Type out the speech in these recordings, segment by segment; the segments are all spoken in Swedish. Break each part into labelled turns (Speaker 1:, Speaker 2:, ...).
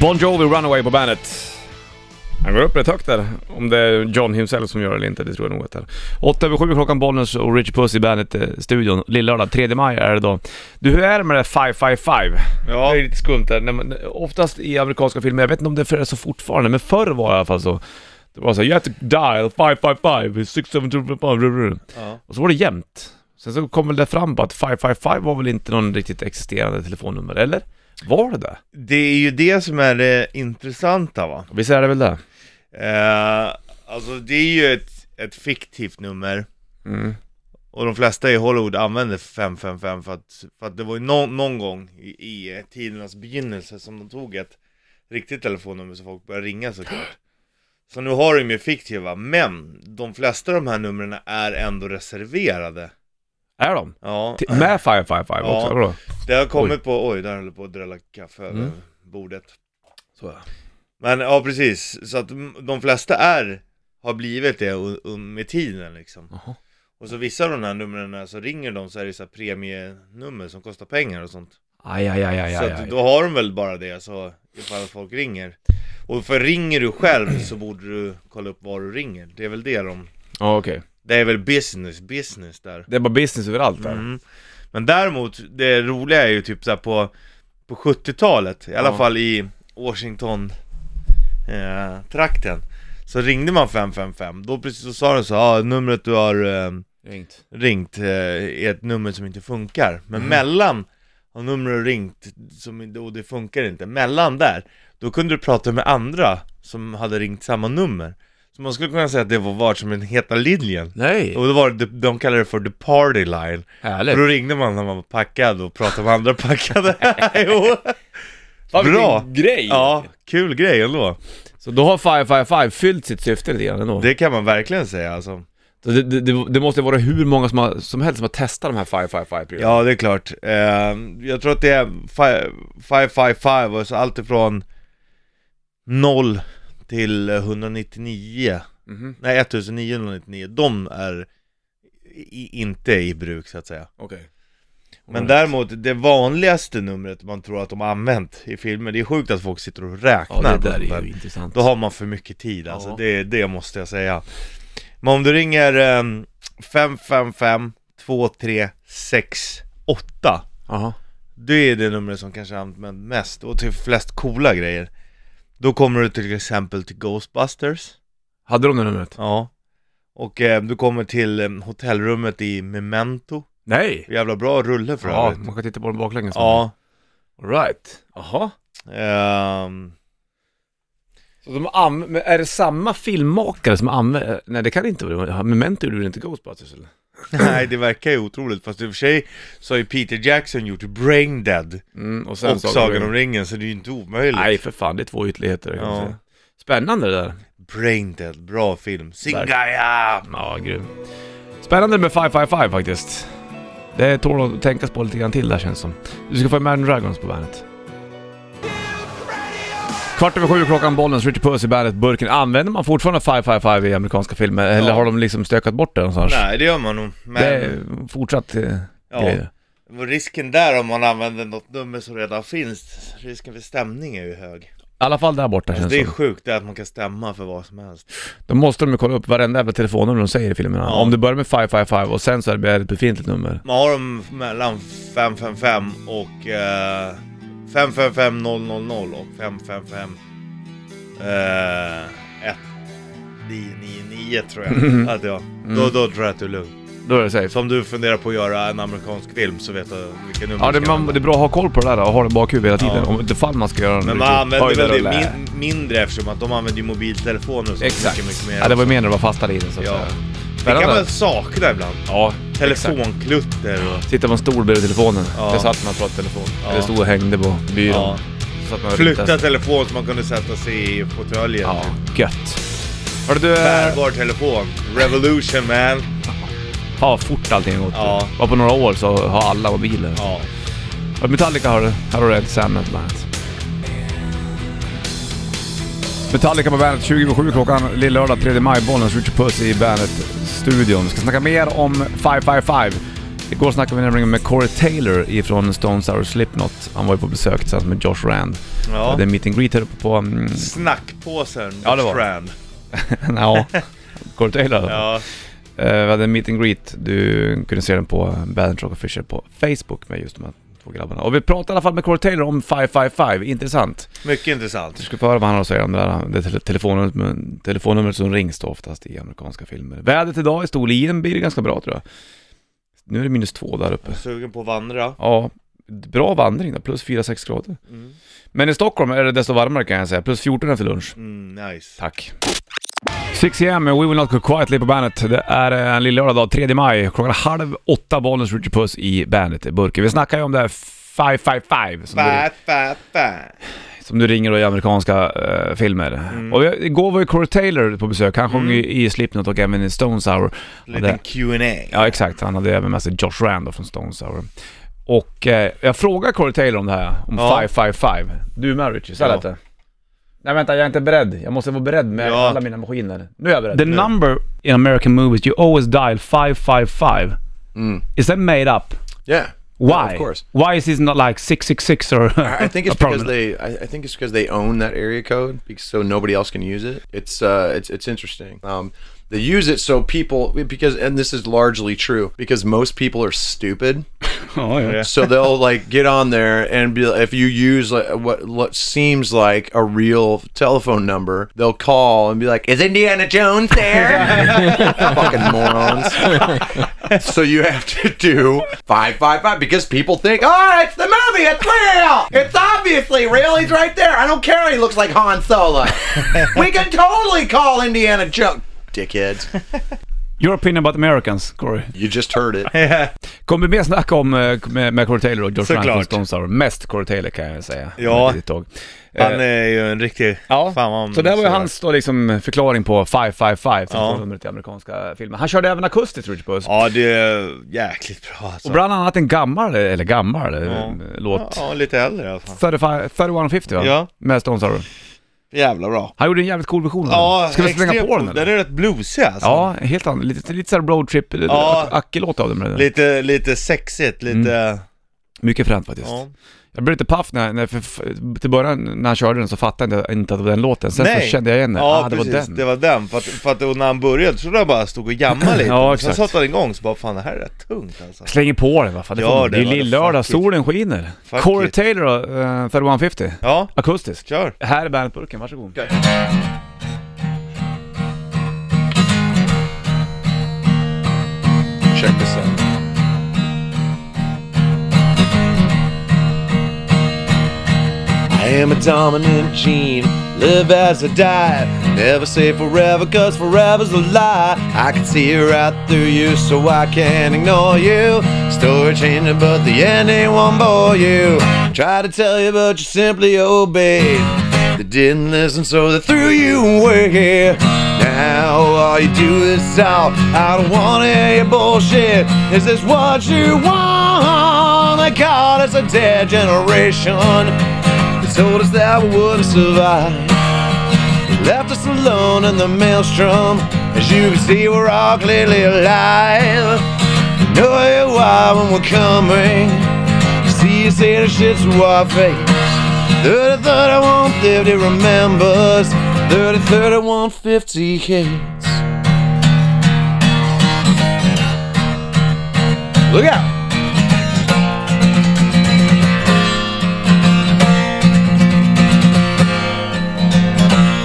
Speaker 1: Bon Jovi Runaway på bandet. Han går upp rätt högt där. Om det är John himself som gör det eller inte, det tror jag nog att det är. 8 över 7 klockan, Bollnäs och Richie Puss i eh, Bandet-studion. Lillördag, 3 maj är det då. Du, hur är det med det 555?
Speaker 2: Ja.
Speaker 1: Det är lite skumt där. När man, oftast i amerikanska filmer, jag vet inte om det är så fortfarande, men förr var det i alla fall så. Det var så här, you have to dial 555, 6725,
Speaker 2: Ja.
Speaker 1: och så var det jämnt. Sen så kom väl det fram på att 555 var väl inte någon riktigt existerande telefonnummer, eller? Var det det?
Speaker 2: Det är ju det som är det intressanta va.
Speaker 1: Visst är det väl det?
Speaker 2: Eh, alltså det är ju ett, ett fiktivt nummer
Speaker 1: Mm.
Speaker 2: och de flesta i Hollywood använder 555 för att, för att det var ju någon, någon gång i, i tidernas begynnelse som de tog ett riktigt telefonnummer så folk började ringa såklart. Så nu har de ju fiktiva, men de flesta av de här numren är ändå reserverade.
Speaker 1: Är de?
Speaker 2: Ja,
Speaker 1: T- Med 555
Speaker 2: Ja.
Speaker 1: också? Vadå?
Speaker 2: det har kommit på, oj där höll jag på att drälla kaffe över
Speaker 1: Mm.
Speaker 2: bordet. Men ja precis, så att m- de flesta är, har blivit det u- u- med tiden liksom
Speaker 1: Jaha.
Speaker 2: Och så vissa av de här numren, så ringer de så är det så här premienummer som kostar pengar och sånt
Speaker 1: Aj, aj, aj, aj,
Speaker 2: Så
Speaker 1: aj,
Speaker 2: att
Speaker 1: aj.
Speaker 2: då har de väl bara det så, ifall folk ringer Och för ringer du själv så borde du kolla upp var du ringer, det är väl det de
Speaker 1: Ja, okej.
Speaker 2: Det är väl business, business där
Speaker 1: Det är bara business överallt där.
Speaker 2: Mm. Men däremot, det roliga är ju typ så här på, på 70-talet, i alla
Speaker 1: Ja.
Speaker 2: fall i Washington eh, trakten Så ringde man 555, då precis så sa de så ja ah, numret du har eh,
Speaker 1: Ringt.
Speaker 2: ringt eh, är ett nummer som inte funkar Men mellan, har numret ringt som, inte- och det funkar inte, mellan där Då kunde du prata med andra som hade ringt samma nummer Så man skulle kunna säga att det var vart som den heta linjen
Speaker 1: Nej!
Speaker 2: och då var det, de kallar det för the party line
Speaker 1: Härligt.
Speaker 2: för då ringde man när man var packad och pratade med andra packade. jo.
Speaker 1: Fan, vilken
Speaker 2: bra.
Speaker 1: grej!
Speaker 2: Ja, kul grej ändå.
Speaker 1: Så då har 555 fyllt sitt syfte lite grann ändå. Det,
Speaker 2: Det kan man verkligen säga alltså.
Speaker 1: det, det, det, måste vara hur många som, har, som helst som har testat de här 555-prylarna.
Speaker 2: Ja, det är klart. Eh, jag tror att det är 555 och så alltså allt ifrån 0 till 199.
Speaker 1: Mhm,
Speaker 2: Nej, 1999. De är i, inte i bruk så att säga.
Speaker 1: Okej.
Speaker 2: Men däremot det vanligaste numret man tror att de har använt i filmer, det är sjukt att folk sitter och räknar
Speaker 1: Ja, det
Speaker 2: på
Speaker 1: där
Speaker 2: sånt
Speaker 1: är ju intressant.
Speaker 2: Då har man för mycket tid alltså,
Speaker 1: Ja.
Speaker 2: det, det måste jag säga Men om du ringer eh, 555 2368
Speaker 1: Jaha.
Speaker 2: Det är det numret som kanske används mest och till flest coola grejer Då kommer du till exempel till Ghostbusters
Speaker 1: Hade de det numret?
Speaker 2: Ja Och eh, du kommer till eh, hotellrummet i Memento
Speaker 1: Nej!
Speaker 2: Jävla bra rulle för
Speaker 1: Ja,
Speaker 2: övrigt
Speaker 1: man kan titta på den baklänges.
Speaker 2: Ja,
Speaker 1: All right. Jaha.
Speaker 2: ehm,
Speaker 1: Så de anv- men är det samma filmmakare som använder... Nej, det kan det inte vara. Memento gjorde väl inte Ghostbusters eller?
Speaker 2: Nej det verkar ju otroligt, fast i och för sig så har ju Peter Jackson gjort Brain Dead
Speaker 1: Mm, och
Speaker 2: och Sagan om ringen, så det är ju inte omöjligt.
Speaker 1: Nej för fan, det är två ytterligheter kan man
Speaker 2: Ja.
Speaker 1: säga. Spännande det där.
Speaker 2: Braindead, bra film.
Speaker 1: Singaya! Ja, grym. Spännande med 555 faktiskt. Det tål att tänkas på lite grann till där känns som. Du ska få Imagine Dragons på bandet. Kvart över sju klockan, Bollnäs, Richard Puss i bandet, burken. Använder man fortfarande 555 i amerikanska filmer eller
Speaker 2: Ja.
Speaker 1: har de liksom stökat bort det någonstans?
Speaker 2: Nej, det gör man nog. Men
Speaker 1: Det är fortsatt eh,
Speaker 2: Ja.
Speaker 1: grejer.
Speaker 2: vad risken där om man använder något nummer som redan finns, risken för stämning är ju hög.
Speaker 1: I alla fall där borta
Speaker 2: Alltså,
Speaker 1: känns
Speaker 2: det
Speaker 1: det
Speaker 2: är
Speaker 1: som.
Speaker 2: sjukt det är att man kan stämma för vad som helst.
Speaker 1: Då måste de ju kolla upp varenda jävla telefonnummer de säger i filmerna.
Speaker 2: Ja.
Speaker 1: Om du börjar med 555 och sen så är det ett befintligt nummer.
Speaker 2: Man har dem mellan 555 och eh, 555 000 och 555 eh, 1999 tror jag att jag. Då, då tror jag att du är lugn.
Speaker 1: Då är det safe.
Speaker 2: Så om du funderar på att göra en amerikansk film så vet du vilka nummer
Speaker 1: Ja, det,
Speaker 2: du
Speaker 1: man, det är bra att ha koll på det där och ha det i bakhuvudet hela
Speaker 2: Ja.
Speaker 1: tiden. Om det fall man ska göra en
Speaker 2: Men
Speaker 1: riktig
Speaker 2: man använder väl det
Speaker 1: höjdarrulle.
Speaker 2: min, mindre eftersom att de använder ju mobiltelefoner och så
Speaker 1: Exakt.
Speaker 2: mycket, mycket mer.
Speaker 1: Ja, det var ju mer när du var fastare i den så att
Speaker 2: Ja.
Speaker 1: säga.
Speaker 2: det kan
Speaker 1: Spännande.
Speaker 2: man sakna ibland.
Speaker 1: Ja, exakt.
Speaker 2: Telefonklutter och...
Speaker 1: Sitta på en stol bredvid telefonen.
Speaker 2: Ja.
Speaker 1: Där satt man och pratade i telefon.
Speaker 2: Ja.
Speaker 1: Eller stod och hängde på byrån.
Speaker 2: Ja.
Speaker 1: Så att man
Speaker 2: Flytta telefon så man kunde sätta sig i fåtöljen.
Speaker 1: Ja, gött. Hörru du, eh,
Speaker 2: Bärbar telefon. Revolution man.
Speaker 1: fan vad fort allting har gått.
Speaker 2: Ja.
Speaker 1: Bara på några år så har alla mobiler.
Speaker 2: Ja.
Speaker 1: Och Metallica har du. Här har du Ed Sandman på bandet. Metallica på bandet 27 klockan lillördag 3 maj. Bollnäs, Richard Puss i bandet-studion. Vi ska snacka mer om 555. Igår snackade vi nämligen med Corey Taylor ifrån Stone Sour Slipknot. Han var ju på besök tillsammans med Josh Rand. Ja. Det är
Speaker 2: Ja.
Speaker 1: en meet and greet här uppe på... Mm,
Speaker 2: Snackpåsen,
Speaker 1: Ja, det var det.
Speaker 2: Strand.
Speaker 1: ja, Corey Taylor.
Speaker 2: Ja,
Speaker 1: Eh, vi hade en meet and greet. Du kunde se den på Bandit Rock Official på Facebook med just de här två grabbarna. Och vi pratade i alla fall med Corey Taylor om 555. Intressant.
Speaker 2: mycket
Speaker 1: Du
Speaker 2: intressant.
Speaker 1: ska få höra vad han har att säga om det där det tele- telefonnumret, telefonnumret som rings då oftast i amerikanska filmer. Vädret idag i Storlien blir det ganska bra tror jag. Nu är det minus två där uppe.
Speaker 2: Jag är sugen på att vandra.
Speaker 1: Ja, bra vandring då, plus 4-6 grader.
Speaker 2: Mm.
Speaker 1: Men i Stockholm är det desto varmare kan jag säga, plus 14 efter lunch.
Speaker 2: Mm, nice.
Speaker 1: Tack. 6 am, We Will Not Go Quietly på bandet. Det är eh, en lillördag dag, 3 maj. Klockan halv åtta, Bollnäs Richard Puss i bandet-burken. Vi snackar ju om det här 555 som, du-
Speaker 2: Fä, fä, fä.
Speaker 1: som du ringer då i amerikanska eh, filmer.
Speaker 3: Mm.
Speaker 1: Och jag, igår var ju Corey Taylor på besök. Han sjöng ju i Slipknot och även i Stone Sour.
Speaker 2: Liten
Speaker 1: Hade-
Speaker 2: Q&A.
Speaker 1: Ja, exakt. Han hade även med sig Josh Rand då från Stone Sour. Och eh, jag frågade Corey Taylor om det här, om
Speaker 2: Ja.
Speaker 1: 555. Du är med Richie, så här
Speaker 2: Ja.
Speaker 1: lät det. Nej vänta, jag är inte beredd. Jag måste vara beredd med
Speaker 2: Ja.
Speaker 1: alla mina maskiner. Nu är jag beredd.
Speaker 3: The number in American movies you always dial 555.
Speaker 4: Mm.
Speaker 3: Is that made up?
Speaker 4: Yeah.
Speaker 3: Why?
Speaker 4: of course.
Speaker 3: Why is this not like 666 or
Speaker 4: I I think it's
Speaker 3: a prominent-
Speaker 4: because they. I, I think it's because they own that area code, because, so nobody else can use it. It's uh, it's it's interesting. Um, they use it so people because, and this is largely true because most people are stupid,
Speaker 3: Oh, yeah.
Speaker 4: so they'll like get on there and be if you use like, what what seems like a real telephone number, they'll call and be like, "Is Indiana Jones there?" Fucking morons. so you have to do five five five because people think, oh, it's the movie, it's real, it's obviously real. He's right there. I don't care. He looks like Han Solo. we can totally call Indiana Jones. Dickheads,
Speaker 3: Your opinion about Americans, Corey.
Speaker 4: you just heard it.
Speaker 1: Eh, Kommer vi mer snacka om eh, med, med Corey Taylor och Josh Rand
Speaker 2: Såklart.
Speaker 1: från Stone Sour. Mest Corey Taylor kan jag säga.
Speaker 2: Ja.
Speaker 1: Om ett litet tag. Eh,
Speaker 2: Han är ju en riktig...
Speaker 1: Ja,
Speaker 2: Fan vad han
Speaker 1: så det var ju
Speaker 2: sådär.
Speaker 1: hans då liksom förklaring på 555,
Speaker 2: Ja.
Speaker 1: telefonnumret i amerikanska filmer. Han körde även akustiskt, Richard Puss.
Speaker 2: Ja, det är jäkligt bra alltså.
Speaker 1: Och bland annat en gammal, eller gammal,
Speaker 2: Ja.
Speaker 1: eh, låt.
Speaker 2: Ja, lite äldre alltså. i alla fall.
Speaker 1: 35 3150 va?
Speaker 2: Ja.
Speaker 1: Med Stone Sour.
Speaker 2: Jävla bra.
Speaker 1: Han gjorde en jävligt cool version av
Speaker 2: Ja,
Speaker 1: den. Ska vi slänga
Speaker 2: extremt
Speaker 1: på den
Speaker 2: god.
Speaker 1: eller?
Speaker 2: Den är rätt bluesig alltså.
Speaker 1: Ja, helt annan. Lite, lite såhär roadtrip,
Speaker 2: Ja.
Speaker 1: ja. acke-låt av den. men-
Speaker 2: Lite, lite sexigt, lite...
Speaker 1: Mm. Mycket fränt faktiskt.
Speaker 2: Ja.
Speaker 1: Jag blev lite paff när, när för, för, till början när han körde den så fattade jag inte att det var den låten. Sen så kände jag igen den.
Speaker 2: Ja,
Speaker 1: ah, det
Speaker 2: precis.
Speaker 1: var den.
Speaker 2: Det var den. För att, för att och när han började trodde jag bara stod och jammade lite.
Speaker 1: Ja,
Speaker 2: Sen
Speaker 1: exakt.
Speaker 2: satte han igång så bara, fan det här är rätt tungt alltså.
Speaker 1: Slänger på den va, fan, det,
Speaker 2: Ja,
Speaker 1: får man.
Speaker 2: det
Speaker 1: det är
Speaker 2: var det.
Speaker 1: lill-lördag,
Speaker 2: Fuck it.
Speaker 1: solen skiner.
Speaker 2: Fuck
Speaker 1: Corey
Speaker 2: it.
Speaker 1: Taylor då, uh, 3150,
Speaker 2: Ja,
Speaker 1: akustiskt.
Speaker 2: kör.
Speaker 1: Här är bandetburken, varsågod.
Speaker 4: Check this out. I am a dominant gene, live as I die. Never say forever, cause forever's a lie. I can see right through you, so I can't ignore you. Story changing, but the end ain't one bore you. Try to tell you, but you simply obeyed. They didn't listen, so they threw you away. Now all you do is talk. I don't wanna hear your bullshit. Is this what you want? They call us a dead generation. They told us that we wouldn't survive. Left us alone in the maelstrom. As you can see, we're all clearly alive. Know you why when we're coming. See you say the shit's our face. 30, 31, 50 remembers. 30, 31, 50 hates. Look out!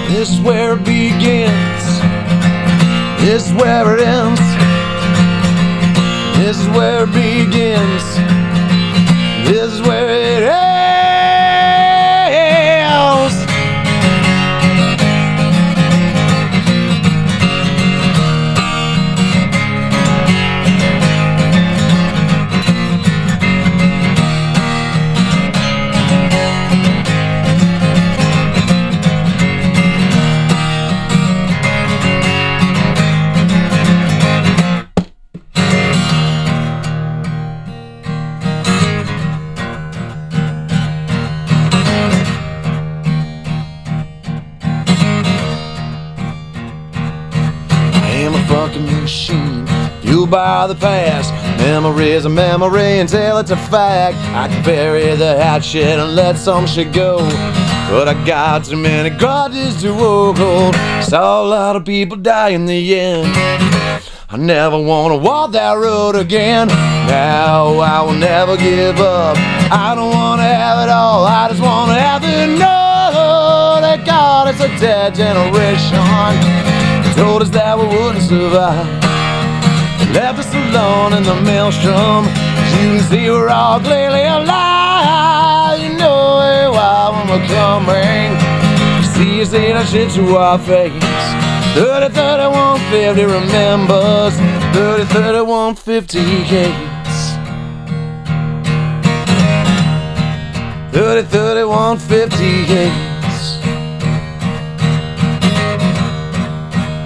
Speaker 4: This is where it begins. This is where it ends. This is where it begins. This is where it ends. I am a fucking machine, fueled by the past. Memory's a memory until it's a fact. I can bury the hatchet and let some shit go. But I got too many grudges to hold. Saw a lot of people die in the end. I never wanna walk that road again. Now I will never give up. I don't wanna have it all. I just wanna have it know that God it's a dead generation. Told us that we wouldn't survive. Left us alone in the maelstrom. You can see we're all clearly alive. You know it while we're coming. See us say that shit to our face. 30, 31, 50 remembers. 30, 31, 50 hates. 30, 31, 50 hates.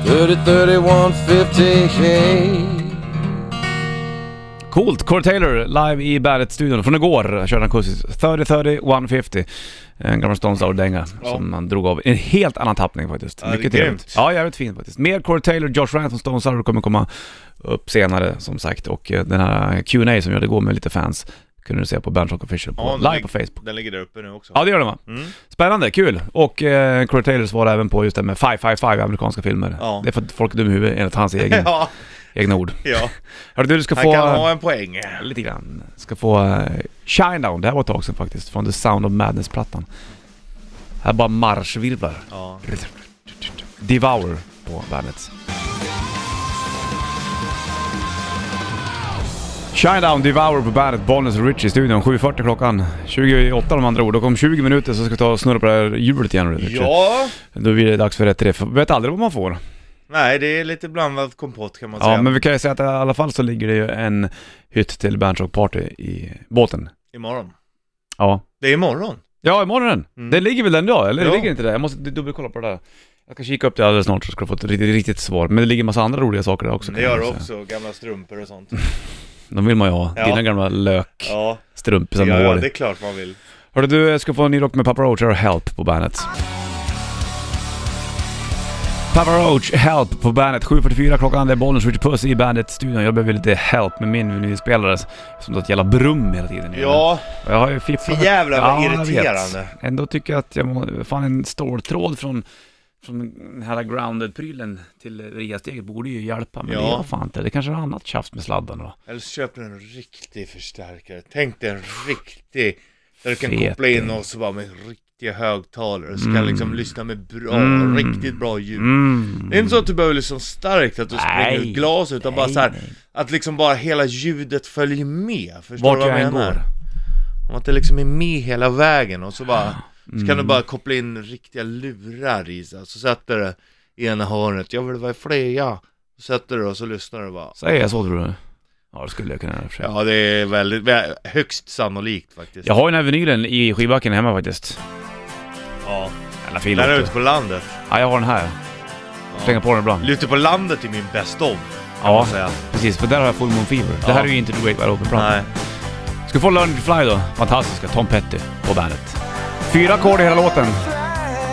Speaker 4: 30, 31, 50 hates.
Speaker 1: Coolt! Corey Taylor live i Bandet-studion från igår körde han akustiskt. 30 30 150. En gammal Stones Sour-dänga
Speaker 2: Ja.
Speaker 1: som han drog av i en helt annan tappning faktiskt.
Speaker 2: Ja, det är
Speaker 1: Mycket
Speaker 2: grymt.
Speaker 1: trevligt. Ja, jävligt fint faktiskt. Mer Corey Taylor, Josh Rant från Stones Sour kommer komma upp senare som sagt. Och eh, den här Q&A som vi hade igår med lite fans kunde du se på Bandrock Official på,
Speaker 2: Ja, den
Speaker 1: live
Speaker 2: ligger-
Speaker 1: på Facebook.
Speaker 2: Den ligger där uppe nu också.
Speaker 1: Ja, det gör den va?
Speaker 2: Mm.
Speaker 1: Spännande, kul! Och eh, Corey Taylor svarade även på just det med 555 amerikanska filmer.
Speaker 2: Ja.
Speaker 1: Det är för att folk är dumma i huvudet enligt hans egen,
Speaker 2: Ja,
Speaker 1: egna ord.
Speaker 2: ja.
Speaker 1: Hörru du, du ska
Speaker 2: Han
Speaker 1: få...
Speaker 2: kan ha en poäng.
Speaker 1: Lite grann. Ska få eh, Shinedown, det här var ett tag sedan faktiskt, från The Sound of Madness-plattan. Här bara marschvirvlar.
Speaker 2: Ja.
Speaker 1: Devour på bandet. Shinedown, Devour på bandet, Bollnäs och Richie i studion. 7.40 klockan. 28 de andra ord. Och om 20 minuter så ska vi ta och snurra på det här hjulet igen Richie.
Speaker 2: Ja,
Speaker 1: Då blir det dags för rätt träff. Vet aldrig vad man får.
Speaker 2: nej det är lite blandad kompott kan man
Speaker 1: Ja,
Speaker 2: säga.
Speaker 1: men vi kan ju säga att i alla fall så ligger det ju en hytt till Bandrock Party i båten.
Speaker 2: Imorgon.
Speaker 1: Ja.
Speaker 2: Det är imorgon.
Speaker 1: Ja, imorgon den.
Speaker 2: Mm.
Speaker 1: Den ligger väl den idag, eller?
Speaker 2: Ja.
Speaker 1: Det ligger inte där. Jag måste dubbelkolla på det där. Jag ska kika upp det alldeles snart så ska du få ett riktigt, riktigt svar. Men det ligger en massa andra roliga saker där också.
Speaker 2: Mm, Det
Speaker 1: kan
Speaker 2: gör
Speaker 1: jag säga.
Speaker 2: också gamla strumpor och sånt.
Speaker 1: De vill man ju ha.
Speaker 2: Ja.
Speaker 1: Dina gamla lökstrumpor ja,
Speaker 2: Ja, ja,
Speaker 1: med
Speaker 2: ja
Speaker 1: hår.
Speaker 2: det är
Speaker 1: i.
Speaker 2: klart man vill.
Speaker 1: Hörru du, jag ska få en ny rock med Papa Roach och Help på bandet. Papa Roach, Help på bandet. 7.44 klockan, det är Bollnäs Richard Puss i bandet-studion. Jag behöver lite help med min vinylspelare som tar ett jävla brum hela tiden.
Speaker 2: Ja,
Speaker 1: Och Jag har ju fifflat.
Speaker 2: För jävlar vad
Speaker 1: jag vet.
Speaker 2: irriterande.
Speaker 1: Ändå tycker jag att jag må, fan en ståltråd från, från den här grounded-prylen till RIA-steget borde ju hjälpa. Men
Speaker 2: Ja.
Speaker 1: det gör fan inte. Det kanske är något annat tjafs med sladden då.
Speaker 2: eller så köper du en riktig förstärkare. Tänk dig en riktig, där du kan
Speaker 1: Fet,
Speaker 2: koppla in
Speaker 1: ja.
Speaker 2: oss och bara med riktiga högtalare. Så kan
Speaker 1: Mm.
Speaker 2: liksom lyssna med bra,
Speaker 1: Mm.
Speaker 2: riktigt bra ljud.
Speaker 1: Mm.
Speaker 2: Det är inte så att du behöver liksom starkt att du spränger
Speaker 1: Nej.
Speaker 2: ut glas utan bara
Speaker 1: Nej,
Speaker 2: så här,
Speaker 1: nej.
Speaker 2: att liksom bara hela ljudet följer med. Förstår
Speaker 1: Vart
Speaker 2: du vad
Speaker 1: jag
Speaker 2: jag
Speaker 1: än
Speaker 2: menar?
Speaker 1: går.
Speaker 2: Om att det liksom är med hela vägen och så bara Så kan du
Speaker 1: Mm.
Speaker 2: bara koppla in riktiga lurar i så, här. så sätter du i ena hörnet, jag vill vara i fria Så sätter du och så lyssnar du bara
Speaker 1: Säger jag så tror du? Ja, det skulle jag kunna göra i och för sig.
Speaker 2: Ja det är väldigt, vä- högst sannolikt faktiskt
Speaker 1: Jag har ju den här vinylen i skivbacken hemma faktiskt.
Speaker 2: Ja,
Speaker 1: Jävla fin
Speaker 2: där
Speaker 1: låt.
Speaker 2: ute på landet
Speaker 1: Ja, jag har den här. Slänger på den ibland.
Speaker 2: Ute på landet är min bäst om, kan man
Speaker 1: Ja,
Speaker 2: säga
Speaker 1: precis. För där har jag Full Moon Fever. Det här
Speaker 2: Ja.
Speaker 1: är ju inte Do Wake Wide Open-plattan.
Speaker 2: Nej,
Speaker 1: Ska få Learn to Fly då. Fantastiska Tom Petty på bandet. Fyra ackord i hela låten.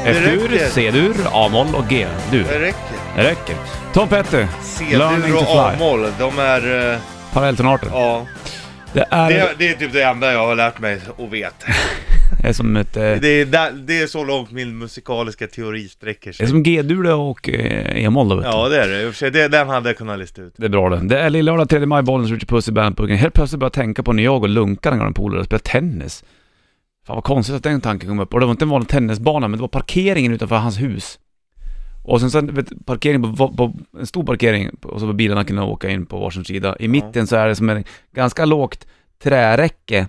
Speaker 1: F-dur,
Speaker 2: räcker.
Speaker 1: C-dur, A-moll och G-dur.
Speaker 2: det räcker
Speaker 1: Det räcker. Tom Petty,
Speaker 2: C-dur
Speaker 1: Learning to
Speaker 2: och
Speaker 1: fly.
Speaker 2: A-moll, de är, eh,
Speaker 1: parallelltonarter.
Speaker 2: ja
Speaker 1: Det är,
Speaker 2: det, det är typ det enda jag har lärt mig och vet
Speaker 1: är som ett... eh,
Speaker 2: Det är, där, det är så långt min musikaliska teori sträcker
Speaker 1: Det är
Speaker 2: sig
Speaker 1: som G-dur och eh, E-moll då vet du.
Speaker 2: Ja det är det, i och för sig, det, den hade jag kunnat lista ut
Speaker 1: Det är bra det. Det är lillördag 3 maj, Bollnäs, Richard Puss i Bandpuggen. Helt plötsligt började jag tänka på när jag och Lunkan, en gammal polare, spelade tennis. Fan vad konstigt att den tanken kom upp. Och det var inte en vanlig tennisbana, men det var parkeringen utanför hans hus. Och sen, sen vet, parkering på, på, en stor parkering, och så var bilarna kunde åka in på varsin sida. I mitten så är det som en ganska lågt träräcke,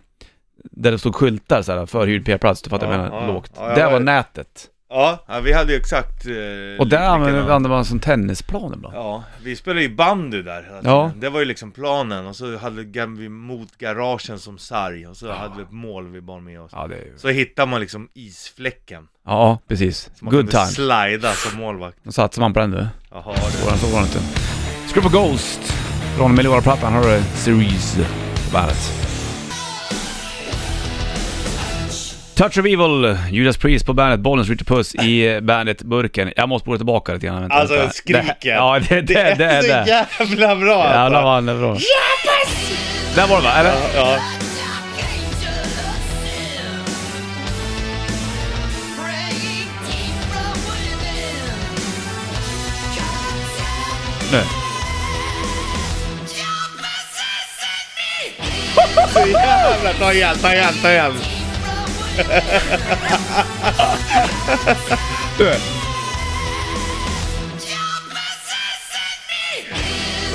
Speaker 1: där det stod skyltar så här, förhyrd p-plats, du fattar vad jag
Speaker 2: Ja,
Speaker 1: menar,
Speaker 2: ja,
Speaker 1: lågt.
Speaker 2: ja, jag
Speaker 1: där var
Speaker 2: vet.
Speaker 1: nätet.
Speaker 2: Ja, ja, vi hade ju exakt eh,
Speaker 1: Och där
Speaker 2: likadan-
Speaker 1: använde, använde man som tennisplan ibland.
Speaker 2: Ja, vi spelade ju bandy där hela tiden.
Speaker 1: Ja.
Speaker 2: Det var ju liksom planen och så hade gam- vi mot garagen som sarg och så hade vi ett mål vi bar med oss
Speaker 1: Ja, det är ju...
Speaker 2: Så hittade man liksom isfläcken
Speaker 1: Ja, precis.
Speaker 2: som man
Speaker 1: Good
Speaker 2: kunde
Speaker 1: time.
Speaker 2: slida som målvakt
Speaker 1: Då satsar man på den du.
Speaker 2: Jaha du
Speaker 1: Våran så var det inte. Screw for Ghost från Melora-plattan. Har du Series på bandet. Touch of Evil, Judas Priest på bandet, Bollnäs, Richard Puss i bandet-burken. Jag måste spola tillbaka lite grann. vänta,
Speaker 2: Alltså,
Speaker 1: vänta.
Speaker 2: skriket.
Speaker 1: Det, ja, det, det, det är det.
Speaker 2: så jävla bra
Speaker 1: Jävlar
Speaker 2: alltså.
Speaker 1: vad han är bra. Där var det va? Eller?
Speaker 2: Ja,
Speaker 1: Nu.
Speaker 2: så jävla... Ta igen, ta igen, ta igen.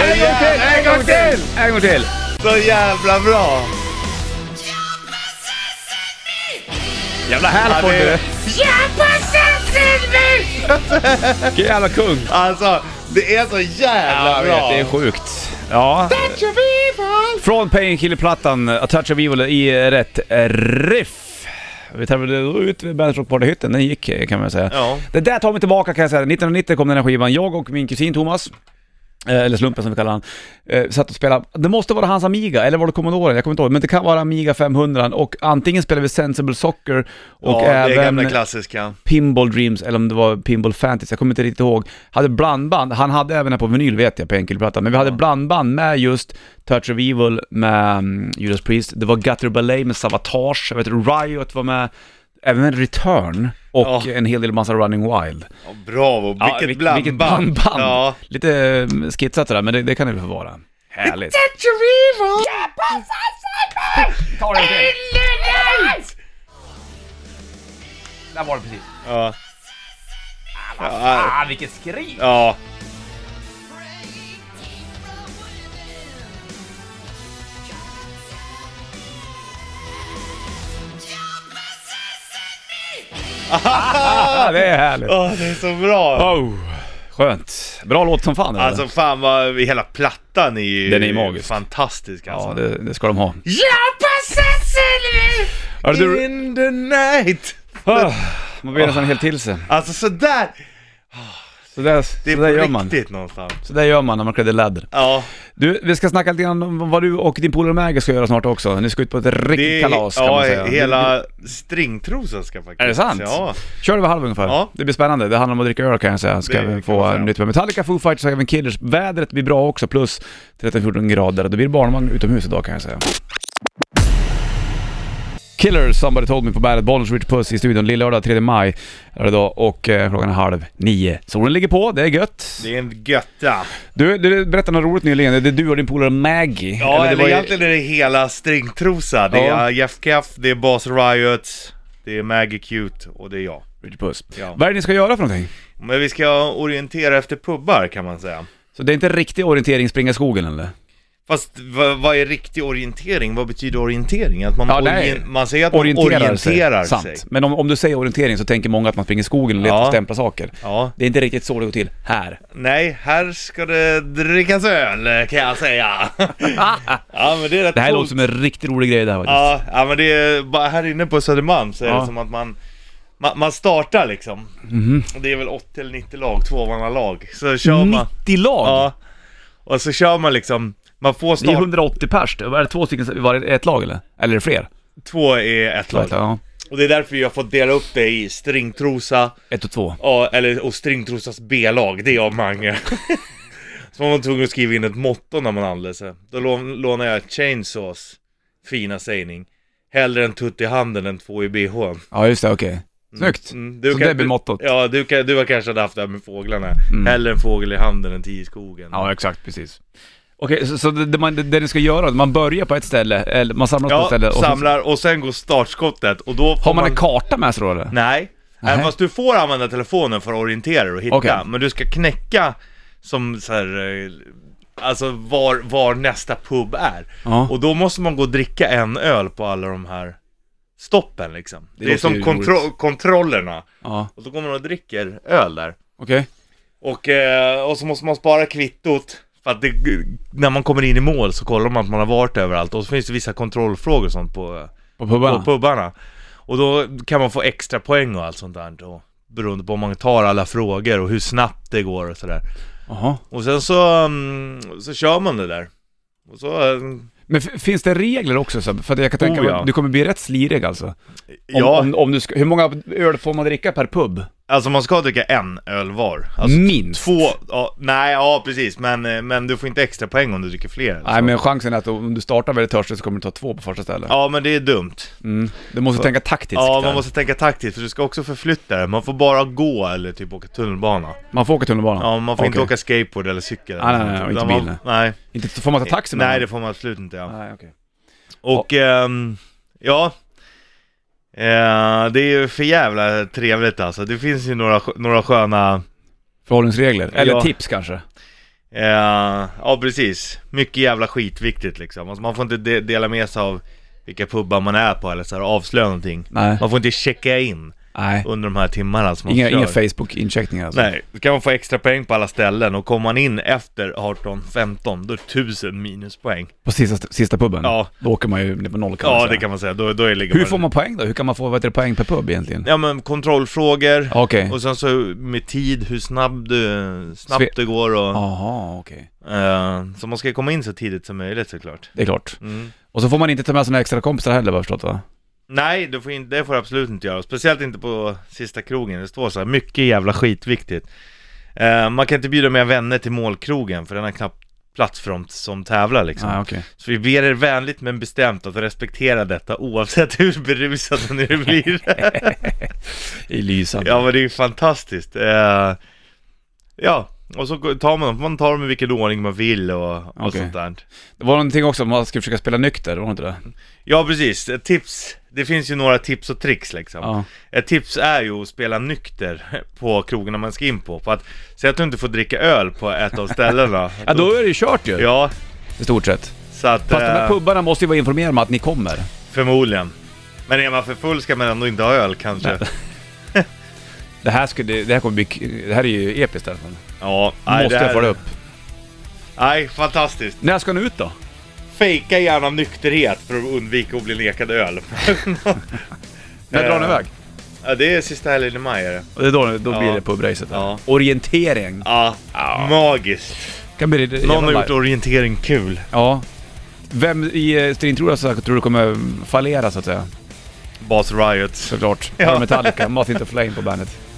Speaker 2: En gång till, en gång till!
Speaker 1: En gång till!
Speaker 2: Så jävla bra!
Speaker 1: Jävla Halford
Speaker 2: Ja, det-
Speaker 1: du! Vilken jävla kung!
Speaker 2: Alltså, det är så jävla
Speaker 1: Ja, jag
Speaker 2: bra!
Speaker 1: vet, det är sjukt. Ja. Touch of Evil! Från Painkiller-plattan, A Touch of Evil i eh, rätt eh, riff. Vi tar väl då ut vid Bandet Rock Party-hytten, den gick eh, kan man säga.
Speaker 2: Ja.
Speaker 1: Det där tar mig tillbaka kan jag säga. 1990 kom den här skivan. Jag och min kusin Thomas, eh, eller Slumpen som vi kallar han, eh, satt och spelade. Det måste vara hans Amiga, eller var det Commodoren? Jag kommer inte ihåg. Men det kan vara Amiga 500 och antingen spelade vi Sensible Soccer och
Speaker 2: ja, det är
Speaker 1: även...
Speaker 2: gamla klassiska.
Speaker 1: Pinball Dreams eller om det var Pinball Fantasy, jag kommer inte riktigt ihåg. Hade blandband, han hade även här på vinyl vet jag på enkelplatta, men vi hade blandband med just Touch of Evil med mm, Judas Priest, det var Gutter Ballet med Savatage, jag vet Riot var med, även Return och
Speaker 2: Ja.
Speaker 1: en hel del massa Running Wild.
Speaker 2: Ja, bravo, vilket
Speaker 1: vil-
Speaker 2: blandband!
Speaker 1: vilket blandband.
Speaker 2: Ja.
Speaker 1: Lite eh, skitsat det där, men det, det kan det väl få vara. Härligt. Ta det till. Där var det precis.
Speaker 2: Ja. Ja,
Speaker 1: Ah, vilket skrik!
Speaker 2: ja.
Speaker 1: Ah, det är härligt.
Speaker 2: Åh, det är så bra!
Speaker 1: Oh, skönt. Bra låt som fan. eller?
Speaker 2: Alltså fan vad, hela plattan är ju
Speaker 1: Den är ju magisk.
Speaker 2: fantastisk alltså.
Speaker 1: ja, det, det ska de ha.
Speaker 2: Ja,
Speaker 1: Hörru, du-
Speaker 2: In the night!
Speaker 1: Ah, Man blir nästan helt till sig.
Speaker 2: Alltså sådär!
Speaker 1: Så där,
Speaker 2: Det är
Speaker 1: så där gör
Speaker 2: på
Speaker 1: man.
Speaker 2: riktigt någonstans.
Speaker 1: Så där gör man när man klädde läder.
Speaker 2: Ja,
Speaker 1: Du, vi ska snacka lite grann om vad du och din polare Mäger ska göra snart också. Ni ska ut på ett riktigt
Speaker 2: det är,
Speaker 1: kalas kan
Speaker 2: ja,
Speaker 1: man säga.
Speaker 2: hela stringtrosan ska faktiskt...
Speaker 1: Är det sant?
Speaker 2: Ja.
Speaker 1: Kör över halv ungefär.
Speaker 2: Ja.
Speaker 1: Det blir spännande. Det handlar om att dricka öl kan jag säga. Ska
Speaker 2: Det
Speaker 1: även
Speaker 2: kan
Speaker 1: få
Speaker 2: man säga.
Speaker 1: eh, nytt med Metallica, Foo Fighters och även Killers. Vädret blir bra också, plus 13-14 grader. Då blir det barnvagn utomhus idag kan jag säga. Killers, Somebody Told Me på bandet, Bollnäs Rich Puss i studion. Lillördag 3 maj är det då och eh, klockan är halv nio. Solen ligger på, det är gött.
Speaker 2: Det är en götta.
Speaker 1: Du, du berättade något roligt nyligen. Det är du och din polare Maggie.
Speaker 2: Ja, eller,
Speaker 1: det var ju-
Speaker 2: egentligen är det hela stringtrosa. Det
Speaker 1: Ja.
Speaker 2: är Jeff Keff, det är Boss Riot, det är Maggie Cute och det är jag.
Speaker 1: Rich Puss.
Speaker 2: Ja.
Speaker 1: Vad är det ni ska göra för någonting?
Speaker 2: Men vi ska orientera efter pubbar kan man säga.
Speaker 1: Så det är inte riktig orientering springa i skogen eller?
Speaker 2: Fast vad, vad är riktig orientering? Vad betyder orientering? Att man,
Speaker 1: Ja, nej.
Speaker 2: orien- man säger att man orienterar, sig.
Speaker 1: Sant. Men om, om du säger orientering så tänker många att man springer i skogen och letar
Speaker 2: Ja.
Speaker 1: och stämplar saker.
Speaker 2: Ja,
Speaker 1: Det är inte riktigt så det går till här.
Speaker 2: nej, här ska det drickas öl kan jag säga. ja, men det är rätt
Speaker 1: Det här
Speaker 2: coolt.
Speaker 1: låter som en riktigt rolig grej det här faktiskt.
Speaker 2: Ja, ja, men det är bara här inne på Södermalm så är
Speaker 1: Ja. Mhm.
Speaker 2: det som att man, man, man startar liksom. Och Det är väl 80 eller 90 lag, tvåmannalag. Så kör man.
Speaker 1: 90 lag!
Speaker 2: Ja. Och så kör man liksom, man får
Speaker 1: Det är
Speaker 2: start,
Speaker 1: 180 pers. Är det två stycken i varje ett lag eller? Eller är det fler?
Speaker 2: två är ett lag.
Speaker 1: Ja.
Speaker 2: Och det är därför jag fått dela upp det i stringtrosa,
Speaker 1: Ett och två.
Speaker 2: ja, eller, och stringtrosas B-lag, det är jag och Mange. så man var tvungen att skriva in ett motto när man anlände sig. Då lån, lånade jag Chainsaws fina sägning. Hellre en tutt i handen än två i bhn.
Speaker 1: Ja just det, okej. Snyggt!
Speaker 2: Mm, du
Speaker 1: Så
Speaker 2: kan-
Speaker 1: det blir
Speaker 2: du-
Speaker 1: mottot. Mm.
Speaker 2: Ja, du, kan, du har kanske haft det här med fåglarna. Hellre en fågel i handen än tio i skogen.
Speaker 1: Ja exakt, precis. Okej, så, så det, det, man, det, det ni ska göra, man börjar på ett ställe, eller man samlas på ett
Speaker 2: ja
Speaker 1: ställe och så-
Speaker 2: samlar och sen går startskottet och då får
Speaker 1: Har man en karta med sig då eller?
Speaker 2: Nej.
Speaker 1: Nej.
Speaker 2: Även fast du får använda telefonen för att orientera dig och hitta,
Speaker 1: Okej.
Speaker 2: men du ska knäcka som så här, eh, alltså var, var nästa pub är.
Speaker 1: Ja.
Speaker 2: Och då måste man gå och dricka en öl på alla de här stoppen liksom. Det, är
Speaker 1: låter
Speaker 2: som
Speaker 1: ju
Speaker 2: kontro- kontrollerna.
Speaker 1: Ja,
Speaker 2: Och så går man och dricker öl där.
Speaker 1: okej.
Speaker 2: Och, eh, och så måste man spara kvittot. För att det, när man kommer in i mål så kollar man att man har varit överallt. Och så finns det vissa kontrollfrågor och sånt på, eh,
Speaker 1: På pubarna?
Speaker 2: på pubbarna. Och då kan man få extra poäng och allt sånt där. Och, beroende på om man tar alla frågor och hur snabbt det går och sådär.
Speaker 1: Jaha.
Speaker 2: Och sen så, mm, så kör man det där. Och så... eh,
Speaker 1: Men f- finns det regler också? Så? För att jag kan tänka
Speaker 2: Oh,
Speaker 1: mig,
Speaker 2: ja.
Speaker 1: du kommer bli rätt slirig alltså. Om,
Speaker 2: Ja,
Speaker 1: om, om du ska, hur många öl får man dricka per pub?
Speaker 2: alltså man ska dricka en öl var. Alltså
Speaker 1: Minst.
Speaker 2: Två, ja, nej ja precis, men, eh, men du får inte extra poäng om du dricker fler.
Speaker 1: Nej
Speaker 2: så.
Speaker 1: men chansen är att om du startar väldigt törstig så kommer du ta två på första stället.
Speaker 2: Ja men det är dumt.
Speaker 1: Mm. Du måste tänka taktiskt
Speaker 2: Ja
Speaker 1: där.
Speaker 2: man måste tänka taktiskt för du ska också förflytta dig. Man får bara gå eller typ åka tunnelbana.
Speaker 1: man får åka tunnelbana?
Speaker 2: Ja man får inte
Speaker 1: Okej.
Speaker 2: åka skateboard eller cykel.
Speaker 1: Nej, nej, nej,
Speaker 2: Utan
Speaker 1: och inte
Speaker 2: man-
Speaker 1: bil,
Speaker 2: Nej.
Speaker 1: Inte, får man ta taxi med
Speaker 2: Eh, Nej
Speaker 1: den?
Speaker 2: det får man absolut inte ja.
Speaker 1: Nej, okej.
Speaker 2: Och ehm, ja, Eh, det är ju för jävla trevligt alltså. Det finns ju några, skö- några sköna,
Speaker 1: Förhållningsregler? Eller
Speaker 2: Ja.
Speaker 1: tips kanske?
Speaker 2: eh, ja precis, mycket jävla skitviktigt liksom. Alltså, man får inte de- dela med sig av vilka pubbar man är på eller så här, avslöja någonting.
Speaker 1: Nej.
Speaker 2: Man får inte checka in
Speaker 1: Nej.
Speaker 2: under de här timmarna som man
Speaker 1: Inga,
Speaker 2: kör.
Speaker 1: inga Facebook-incheckningar alltså?
Speaker 2: Nej, då kan man få extra poäng på alla ställen och kommer man in efter 18-15 då är det 1000 minuspoäng.
Speaker 1: På sista, sista puben?
Speaker 2: Ja.
Speaker 1: Då åker man ju ner på noll kan man
Speaker 2: Ja
Speaker 1: säga.
Speaker 2: det kan man säga, då, då är ligger
Speaker 1: Hur får man poäng då? Hur kan man få vad heter det, poäng per pub egentligen?
Speaker 2: Ja men kontrollfrågor,
Speaker 1: Okej.
Speaker 2: Och sen så med tid, hur snabb du, snabbt
Speaker 1: Eh. Sve-
Speaker 2: det går och...
Speaker 1: Jaha, okej.
Speaker 2: eh, så man ska komma in så tidigt som möjligt såklart.
Speaker 1: Det är klart.
Speaker 2: Mm.
Speaker 1: Och så får man inte ta med sina extra kompisar heller vad jag förstått va?
Speaker 2: Nej, du får inte, det får du absolut inte göra. Speciellt inte på sista krogen. Det står så här, mycket jävla skitviktigt. Eh, man kan inte bjuda med vänner till målkrogen för den har knappt plats för dem som tävlar liksom.
Speaker 1: Nej, Ah, okej.
Speaker 2: Så vi ber er vänligt men bestämt att respektera detta oavsett hur berusade ni blir.
Speaker 1: Det är lysande.
Speaker 2: Ja men det är ju fantastiskt. Eh, ja, och så går- tar man dem, man tar dem i vilken ordning man vill och, och
Speaker 1: Okej.
Speaker 2: sånt där.
Speaker 1: Det var någonting också om man skulle försöka spela nykter, var det inte det?
Speaker 2: Ja precis, ett tips. Det finns ju några tips och tricks liksom.
Speaker 1: Ja.
Speaker 2: Ett tips är ju att spela nykter på krogarna man ska in på. För att, säg att du inte får dricka öl på ett av ställena.
Speaker 1: Ja, då är det ju kört ju.
Speaker 2: Ja,
Speaker 1: I stort sett.
Speaker 2: så att...
Speaker 1: Fast de här
Speaker 2: eh,
Speaker 1: pubbarna måste ju vara informerade om att ni kommer.
Speaker 2: Förmodligen. Men är man för full ska man ändå inte ha öl kanske.
Speaker 1: Det här, skulle, det här kommer bli... k- Det här är ju episkt i alla fall.
Speaker 2: Ja, nej,
Speaker 1: Måste
Speaker 2: det
Speaker 1: jag
Speaker 2: här-
Speaker 1: följa upp.
Speaker 2: Nej, fantastiskt.
Speaker 1: När ska ni ut då?
Speaker 2: Fejka gärna nykterhet för att undvika att bli nekad öl.
Speaker 1: När drar ni
Speaker 2: Eh.
Speaker 1: iväg?
Speaker 2: Ja, det är sista helgen i maj är det.
Speaker 1: Och det är då, då
Speaker 2: Ja.
Speaker 1: blir det pubracet. där.
Speaker 2: Ja.
Speaker 1: Orientering.
Speaker 2: Ja, magiskt.
Speaker 1: Kan bli det,
Speaker 2: Någon har
Speaker 1: jävla-
Speaker 2: gjort orientering kul.
Speaker 1: Ja. Vem i eh, Strin tror jag så här, tror du kommer fallera så att säga?
Speaker 2: Bas Riot.
Speaker 1: Såklart.
Speaker 2: Ja.
Speaker 1: Hör Metallica, Moth Into Flame på bandet.